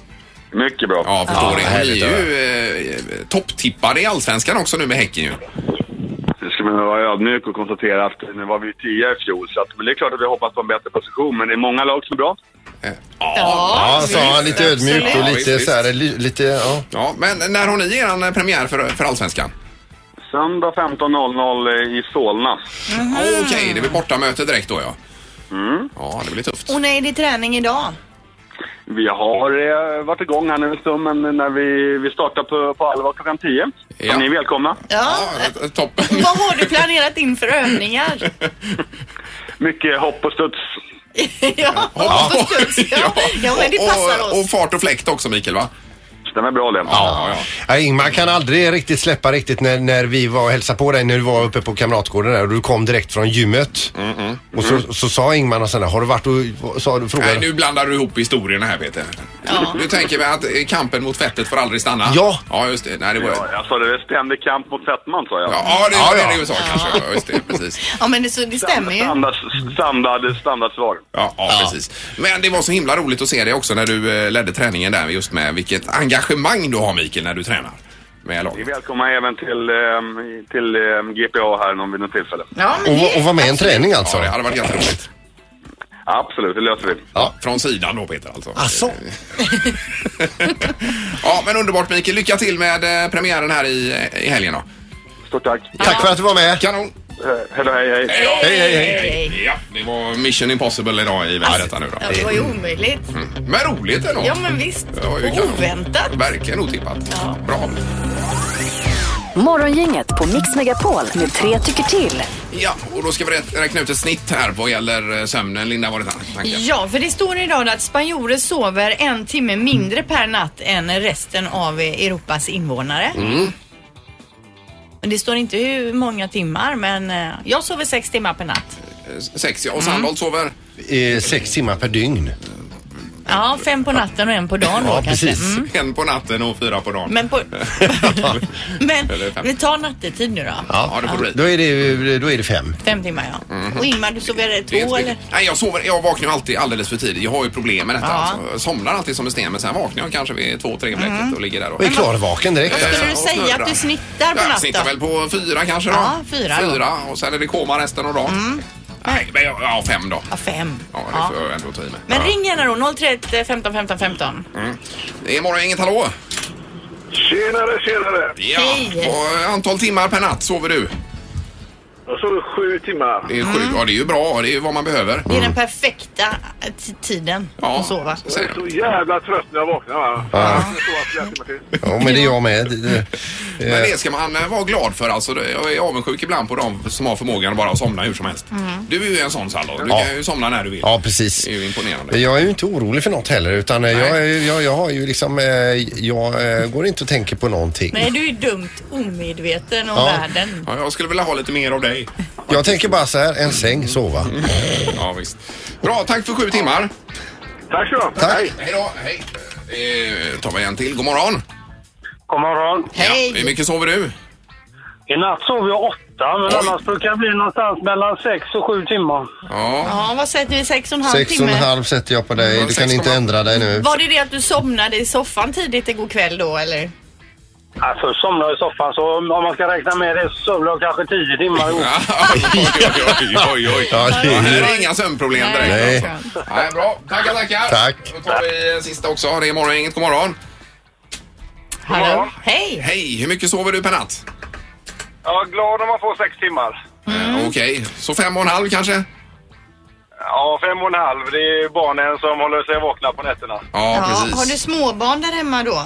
Speaker 7: Mycket bra.
Speaker 2: Ja, förstår
Speaker 4: Ja,
Speaker 2: det. Ni
Speaker 4: härligt
Speaker 2: är ju eh, topptippade i Allsvenskan också nu med Häcken ju.
Speaker 7: Nu ska man vara ödmjuk och konstatera att nu var vi ju tia i fjol. Så att, men det är klart att vi hoppas på en bättre position. Men det är många lag som är bra.
Speaker 2: Eh,
Speaker 4: Ja, sa han lite ödmjukt och
Speaker 2: Ja,
Speaker 4: lite
Speaker 2: visst,
Speaker 4: så här, li, lite, ja.
Speaker 2: Ja, men när har ni er premiär för, för Allsvenskan?
Speaker 7: Söndag 15.00 i Solna.
Speaker 2: Okej, det blir bortamöte direkt då ja. Ja, det blir tufft.
Speaker 3: Och nej, det är träning idag.
Speaker 7: Vi har eh, varit igång här nu en stund, men när vi, vi startar på, på allvar klockan 10. Så
Speaker 2: Ja.
Speaker 7: ni är välkomna.
Speaker 3: Ja.
Speaker 2: Ja, toppen.
Speaker 3: Vad har du planerat in för övningar?
Speaker 7: Mycket hopp och studs.
Speaker 3: ja, hopp och studs. Ja. ja, men det passar
Speaker 2: och, och
Speaker 3: oss.
Speaker 2: fart och fläkt också Mikael va?
Speaker 7: Stämmer bra det.
Speaker 2: Ja, ja.
Speaker 4: Nej, Ingmar kan aldrig riktigt släppa riktigt när, när vi var och hälsade på dig när du var uppe på Kamratgården där och du kom direkt från gymmet. Och så, så sa Ingmar och sen har du varit och sa, du frågade.
Speaker 2: Nej, nu blandar du ihop historierna här Peter. Nu tänker vi att eh, kampen mot fettet får aldrig stanna.
Speaker 4: Ja.
Speaker 2: Ja, just det. Nej, det var...
Speaker 7: Ja, jag sa det. Ständig kamp mot fetman, sa jag.
Speaker 2: Ja, ja, det var
Speaker 4: Ja,
Speaker 2: det
Speaker 4: ja.
Speaker 2: du sa kanske. Ja, just det. Precis.
Speaker 3: Ja, men det, så, det stämmer ju.
Speaker 7: Standard, standard, standardsvar.
Speaker 2: Ja, ja, precis. Men det var så himla roligt att se dig också när du eh, ledde träningen där just med vilket engagemang du har Mikael när du tränar med
Speaker 7: Ni är
Speaker 2: laget.
Speaker 7: välkomna även till, ehm, till ehm, GPA här någon vid något tillfälle.
Speaker 3: Ja, men
Speaker 4: och, va-
Speaker 3: det,
Speaker 4: och var med i en träning alltså.
Speaker 2: Ja, det hade varit jätteroligt.
Speaker 7: Absolut, det löser vi.
Speaker 2: Ja. Från sidan då Peter alltså.
Speaker 4: Alltså.
Speaker 2: Ja, men underbart Mikael. Lycka till med eh, premiären här i, eh, i helgen då.
Speaker 7: Stort tack.
Speaker 4: Tack för att du var med.
Speaker 2: Kanon!
Speaker 7: Eh, Hej, då, hej, hej.
Speaker 4: Hej, hej, hej.
Speaker 2: Ja, det var Mission Impossible idag i detta nu då. Mm.
Speaker 3: ja, det var ju omöjligt.
Speaker 2: Men roligt ändå.
Speaker 3: Ja, men visst.
Speaker 2: Det var ju
Speaker 3: Och
Speaker 2: kanon.
Speaker 3: oväntat.
Speaker 2: Verkligen otippat. Bra.
Speaker 5: Morgongänget på Mix Megapol med tre tycker till.
Speaker 2: Ja, och då ska vi rä- räkna ut ett snitt här vad gäller eh, sömnen. Linda, var det tan- tanken?
Speaker 3: Ja, för det står idag att spanjorer sover en timme mindre per natt än resten av Europas invånare.
Speaker 2: Mm.
Speaker 3: Men Det står inte hur många timmar, men eh, jag sover sex timmar per natt.
Speaker 2: Eh, Sex, ja. Och Sandholt sover?
Speaker 4: Eh, sex timmar per dygn.
Speaker 3: Ja, fem på natten och en på dagen då
Speaker 2: Ja,
Speaker 3: kanske.
Speaker 2: precis.
Speaker 3: Mm.
Speaker 2: En på natten och fyra på dagen.
Speaker 3: Men, på, men
Speaker 2: Eller fem.
Speaker 3: vi tar nattetid nu då.
Speaker 4: Ja, då, är det, ju- då är det fem.
Speaker 3: Fem timmar ja.
Speaker 2: Mm.
Speaker 3: Och Ingmar, du sover
Speaker 2: Det är
Speaker 3: två
Speaker 2: inte
Speaker 3: eller?
Speaker 2: mycket. Nej, jag, sover, jag vaknar ju alltid alldeles för tidigt. Jag har ju problem med detta.
Speaker 3: Ja.
Speaker 2: Alltså. Jag somnar alltid som en sten, men sen vaknar jag kanske vid två, tre bläcket
Speaker 3: Mm.
Speaker 2: och ligger där.
Speaker 4: Och är klarvaken direkt.
Speaker 2: Vad
Speaker 3: Skulle du säga att du snittar
Speaker 2: Jag
Speaker 3: på natten?
Speaker 2: snittar väl på fyra kanske då.
Speaker 3: Ja, fyra då. Mm.
Speaker 2: Fyra och sen är det koma resten av dagen. Nej, men jag, ja, fem då.
Speaker 3: Ja, fem.
Speaker 2: Ja, det får jag ändå ta i mig.
Speaker 3: Men
Speaker 2: ja.
Speaker 3: ring gärna då, 031 15 15 15.
Speaker 2: Mm. Det är morgongänget, hallå!
Speaker 11: Tjenare, tjenare!
Speaker 2: Ja, och antal timmar per natt sover du?
Speaker 11: Jag sover sju timmar.
Speaker 2: Det är sju, ja det är ju bra, det är ju vad man behöver.
Speaker 3: Det är den perfekta t- tiden att sova.
Speaker 11: Jag är så jävla trött när jag vaknar. Va?
Speaker 4: Ja.
Speaker 11: Jag sover flera timmar till.
Speaker 4: Ja, men det är jag med. Det- det-
Speaker 2: Men det ska man eh, vara glad för. Alltså, Det- jag är avundsjuk ibland på de som har förmågan att bara somna hur som helst. Du är ju en sån Sallo. Du
Speaker 4: Mm. Ja.
Speaker 2: kan ju somna när du vill.
Speaker 4: Ja, precis.
Speaker 2: Det är ju imponerande.
Speaker 4: Jag är ju inte orolig för något heller utan eh, jag, är- jag, jag har ju liksom, eh, jag eh, går inte och tänker på någonting.
Speaker 3: Nej, du är dumt omedveten om
Speaker 4: Ja.
Speaker 3: världen.
Speaker 2: Ja, jag skulle vilja ha lite mer av dig.
Speaker 4: Jag tänker bara så här, en säng, sova.
Speaker 11: Mm.
Speaker 2: Ja, visst. Bra, tack för sju timmar.
Speaker 11: Tack så
Speaker 4: Tack. Hej.
Speaker 2: Hej då. Hej. Eh, tar vi en till. God morgon.
Speaker 11: God morgon.
Speaker 2: Hej. Ja, hur mycket sover du?
Speaker 11: I natt sov jag åtta, men annars brukar det bli någonstans mellan sex och sju timmar.
Speaker 2: Ja.
Speaker 3: Ja, vad sätter vi? Sex och en halv
Speaker 4: Sex och en
Speaker 3: timme?
Speaker 4: halv sätter jag på dig. Du kan inte ändra dig nu.
Speaker 3: Var det det att du somnade i soffan tidigt igår kväll då eller?
Speaker 11: Alltså, somnar jag i soffan, så om man ska räkna med det så sover jag kanske tio timmar ihop.
Speaker 2: Oj, oj, oj.
Speaker 4: Ja, det är-
Speaker 2: här är inga sömnproblem direkt.
Speaker 4: Nej.
Speaker 2: alltså. Nej, bra. Tackar, tackar.
Speaker 4: Tack.
Speaker 2: Då tar vi eh, sista också. Det är morgongänget. God morgon.
Speaker 3: Hallå? Hej!
Speaker 2: Hej. Hur mycket sover du per natt?
Speaker 11: Jag är glad om man får sex timmar.
Speaker 2: Eh, Okej, så fem och en halv kanske?
Speaker 11: Ja, fem och en halv. Det är barnen som håller sig vakna på nätterna.
Speaker 2: Ja, precis.
Speaker 3: Har du småbarn där hemma då?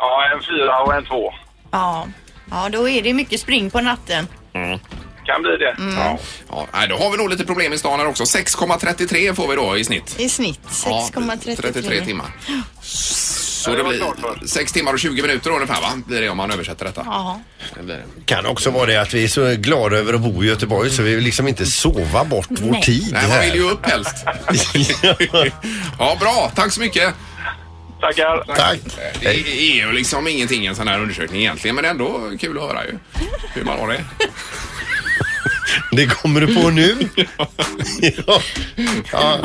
Speaker 11: Ja, en fyra och en två.
Speaker 3: Ja. Ja, då är det mycket spring på natten.
Speaker 11: Kan bli det.
Speaker 3: Mm.
Speaker 2: Ja. Mm. Ja, nej, då har vi nog lite problem i stan här också. 6,33 får vi då i snitt.
Speaker 3: I snitt 6,33
Speaker 2: 33 timmar. Så det blir 6 timmar och 20 minuter ungefär va? Blir det om man översätter detta.
Speaker 3: Ja.
Speaker 2: Det blir det.
Speaker 4: Kan också vara det att vi är så glada över att bo i Göteborg så vi vill liksom inte sova bort vår
Speaker 3: Nej.
Speaker 4: tid
Speaker 2: Nej, man vill ju
Speaker 4: här.
Speaker 2: upp helst. ja, bra. Tack så mycket.
Speaker 11: Tackar.
Speaker 4: Tack.
Speaker 2: Det är ju liksom ingenting en sån här undersökning egentligen, men det är ändå kul att höra ju hur man har det.
Speaker 4: Det kommer du på nu? ja. ja.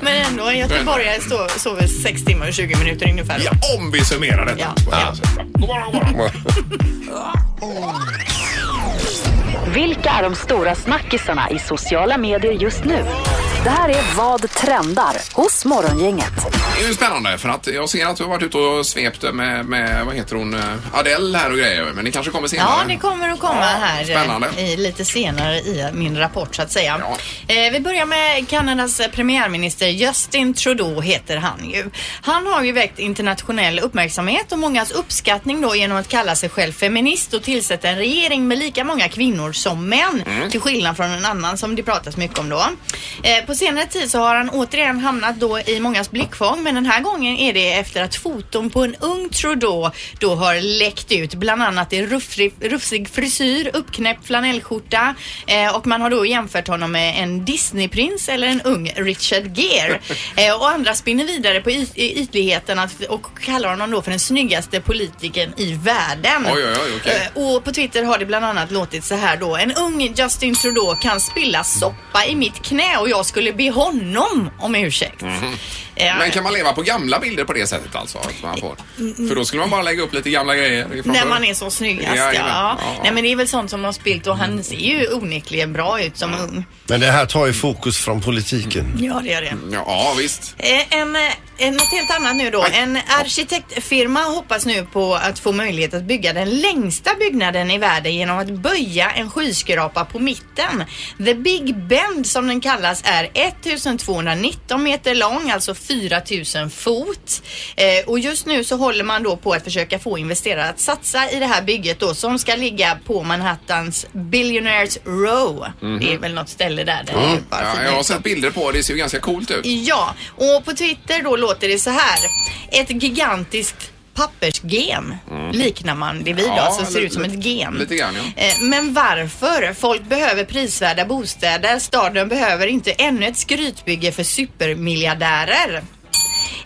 Speaker 3: Men ändå, en göteborgare står- sover 6 timmar och 20 minuter ungefär.
Speaker 2: Ja, om vi summerar detta.
Speaker 3: Ja.
Speaker 4: Ja.
Speaker 5: Vilka är de stora snackisarna i sociala medier just nu? Det här är Vad trendar hos Morgongänget.
Speaker 2: Det är ju spännande för att jag ser att du har varit ute och svept med, med vad heter hon, eh, Adele här och grejer. Men det kanske kommer senare.
Speaker 3: Ja, det kommer att komma här eh,
Speaker 2: spännande.
Speaker 3: i, lite senare i min rapport så att säga. Eh, vi börjar med Kanadas premiärminister Justin Trudeau heter han ju. Han har ju väckt internationell uppmärksamhet och mångas uppskattning då genom att kalla sig själv feminist och tillsätta en regering med lika många kvinnor som män.
Speaker 2: Mm.
Speaker 3: Till skillnad från en annan som det pratas mycket om då. Eh, på senare tid så har han återigen hamnat då i mångas blickfång men den här gången är det efter att foton på en ung Trudeau då har läckt ut. Bland annat i ruffrig, rufsig frisyr, uppknäppt flanellskjorta eh, och man har då jämfört honom med en Disneyprins eller en ung Richard Gere. Eh, och andra spinner vidare på yt- i ytligheten att, och kallar honom då för den snyggaste politikern i världen.
Speaker 2: Oj, oj, oj, okej.
Speaker 3: Eh, Och på Twitter har det bland annat låtit så här då. En ung Justin Trudeau kan spilla soppa i mitt knä och jag skulle be honom om ursäkt. Eh,
Speaker 2: Mhm. Men kan man leva på gamla bilder på det sättet alltså? Att man får? För då skulle man bara lägga upp lite gamla grejer. ifrån
Speaker 3: Mm. När
Speaker 2: förr.
Speaker 3: man är så snyggast ja.
Speaker 2: Jajamän.
Speaker 3: ja.
Speaker 2: Ja.
Speaker 3: Nej men det är väl sånt som de har spilt och han ser ju onekligen bra ut som
Speaker 2: Mm.
Speaker 3: ung.
Speaker 4: Men det här tar ju fokus från politiken.
Speaker 3: Ja det gör det.
Speaker 2: Ja, visst.
Speaker 3: Eh, En, eh, en, något helt annat nu då. En arkitektfirma hoppas nu på att få möjlighet att bygga den längsta byggnaden i världen genom att böja en skyskrapa på mitten. The Big Bend som den kallas är 1219 meter lång, alltså 4000 fot. Eh, och just nu så håller man då på att försöka få investerare att satsa i det här bygget då som ska ligga på Manhattans Billionaires Row.
Speaker 2: Mhm.
Speaker 3: Det är väl något ställe där. där det är
Speaker 2: Ja,
Speaker 3: bara fina
Speaker 2: jag har sett bilder på det. Det ser ju ganska coolt ut.
Speaker 3: Ja, och på Twitter då låter det så här. Ett gigantiskt pappersgem
Speaker 2: Mm.
Speaker 3: liknar man det vid då,
Speaker 2: Ja,
Speaker 3: alltså ser
Speaker 2: li-
Speaker 3: ut som ett gem.
Speaker 2: Lite grann, ja.
Speaker 3: Eh, Men varför? Folk behöver prisvärda bostäder. Staden behöver inte ännu ett skrytbygge för supermiljardärer.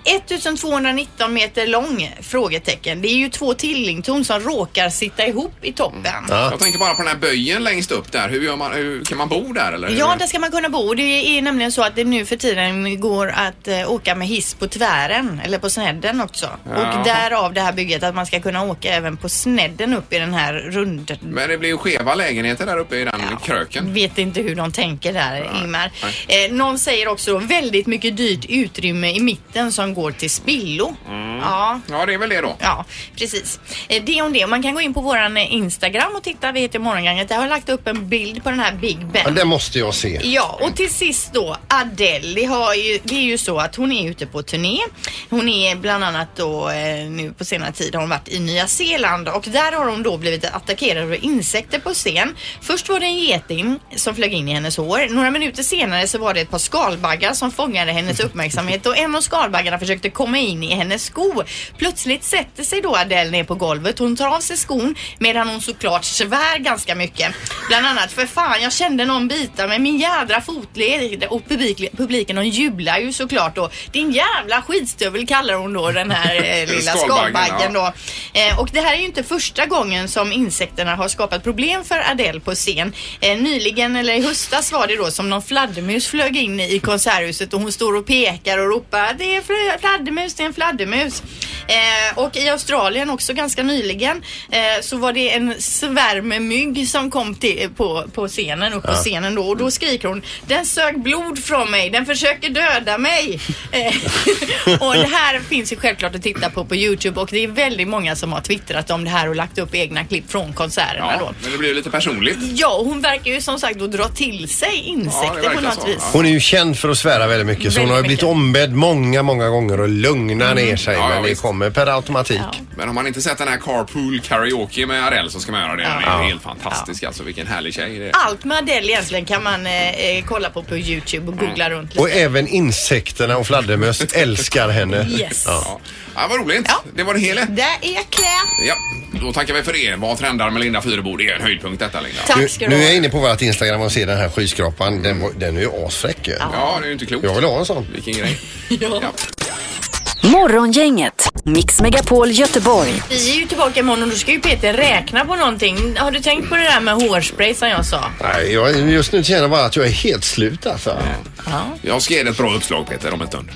Speaker 3: 1219 meter lång? Frågetecken. Det är ju två tvillingtorn som råkar sitta ihop i toppen.
Speaker 2: Jag tänker bara på den här böjen längst upp där. Hur, gör man, hur Kan man bo där eller? hur?
Speaker 3: Ja, där ska man kunna bo. Det är nämligen så att det nu för tiden går att eh, åka med hiss på tvären eller på snedden också.
Speaker 2: Ja.
Speaker 3: Och därav det här bygget att man ska kunna åka även på snedden upp i den här rund...
Speaker 2: Men det blir ju skeva lägenheter där uppe i den kröken.
Speaker 3: Vet inte hur de tänker där, Ingmar. Eh, någon säger också då, väldigt mycket dyrt utrymme i mitten som går till spillo.
Speaker 2: Mm.
Speaker 3: Ja.
Speaker 2: ja, det är väl det då.
Speaker 3: Ja, precis. Eh, Det om det. Man kan gå in på våran eh, Instagram och titta. Vi heter Morgonganget. Jag har lagt upp en bild på den här Big Ben.
Speaker 4: Ja, det måste jag se.
Speaker 3: Ja, och till sist då Adele. Det, har ju, det är ju så att hon är ute på turné. Hon är bland annat då eh, nu på senare tid har hon varit i Nya Zeeland och där har hon då blivit attackerad av insekter på scen. Först var det en geting som flög in i hennes hår. Några minuter senare så var det ett par skalbaggar som fångade hennes uppmärksamhet och en av skalbaggarna försökte komma in i hennes sko. Plötsligt sätter sig då Adele ner på golvet. Hon tar av sig skon medan hon såklart svär ganska mycket. Bland annat för fan jag kände någon bita med min jädra fotled och publik, publiken de jublar ju såklart då. Din jävla skitstövel kallar hon då den här eh, lilla
Speaker 12: Skalbaggen,
Speaker 3: skalbaggen
Speaker 12: ja.
Speaker 3: då. Eh, och det här är ju inte första gången som insekterna har skapat problem för Adele på scen. Eh, nyligen, eller i höstas var det då, som någon fladdermus flög in i konserthuset och hon står och pekar och ropar det är fl- fladdermus, det är en fladdermus. Eh, och i Australien också ganska nyligen eh, så var det en svärm med mygg som kom till, eh, på, på scenen, upp på
Speaker 12: Ja.
Speaker 3: scenen då och då skriker hon den sög blod från mig, den försöker döda mig. Eh, och det här finns ju självklart att titta på på Youtube och det är väldigt många som har twittrat om det här och lagt upp egna klipp från konserterna då.
Speaker 2: Ja, men det blir ju lite personligt.
Speaker 3: Ja, och hon verkar ju som sagt då dra till sig insekter på något vis.
Speaker 4: Hon är ju känd för att svära väldigt mycket så hon har ju
Speaker 3: Väldigt
Speaker 4: blivit ombedd många, många gånger att lugna ner sig.
Speaker 2: Ja, ja,
Speaker 4: men det
Speaker 2: visst.
Speaker 4: kommer per automatik.
Speaker 2: Men om man inte sett den här Carpool Karaoke med Arell så ska man göra det. Den är
Speaker 4: Ja. Ah.
Speaker 2: ju helt fantastisk alltså. Vilken härlig tjej det är.
Speaker 3: Allt med Adele egentligen kan man eh, eh, kolla på på Youtube och googla runt lite.
Speaker 4: Och även insekterna och fladdermöss älskar henne.
Speaker 3: Yes.
Speaker 4: Ja.
Speaker 2: Ja, vad roligt. Det var det hela.
Speaker 3: Där är jag klar.
Speaker 2: Ja, då tackar vi för det. Vad trendar med Linda Fyrebo? Det är en höjdpunkt detta Linda.
Speaker 4: Nu, nu är jag inne på vårt Instagram och ser den här skyskrapan. Den, var- den är ju asfräck ju.
Speaker 2: Ja, det är ju inte klokt.
Speaker 4: Jag vill ha en sån.
Speaker 2: Vilken grej.
Speaker 5: Morgongänget, Mix Megapol Göteborg.
Speaker 3: Vi är ju tillbaka imorgon och då ska ju Peter räkna på någonting. Har du tänkt på det där med hårspray som jag sa?
Speaker 4: Nej, jag, just nu känner jag bara att jag är helt slut alltså.
Speaker 3: Ja.
Speaker 2: Jag ska ge dig ett bra uppslag Peter om en stund.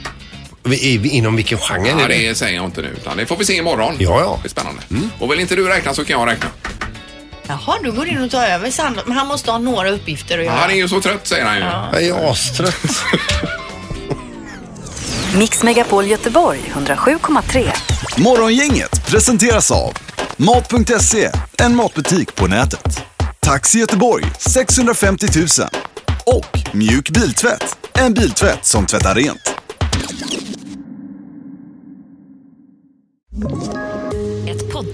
Speaker 4: Vi- i- Inom vilken genre
Speaker 2: Ja,
Speaker 4: är det?
Speaker 2: det säger jag inte nu utan det får vi se imorgon.
Speaker 4: Ja, ja. Mm.
Speaker 2: Det är spännande. Och vill inte du räkna så kan jag räkna.
Speaker 3: Jaha, du går in och tar över Sandra. Men han måste ha några uppgifter att göra.
Speaker 2: Han är ju så trött säger han ju.
Speaker 4: Jag är astrött.
Speaker 5: Mix Megapol Göteborg 107,3.
Speaker 1: Morgongänget presenteras av Mat.se, en matbutik på nätet. Taxi Göteborg 650 000 och Mjuk Biltvätt, en biltvätt som tvättar rent.
Speaker 13: Ett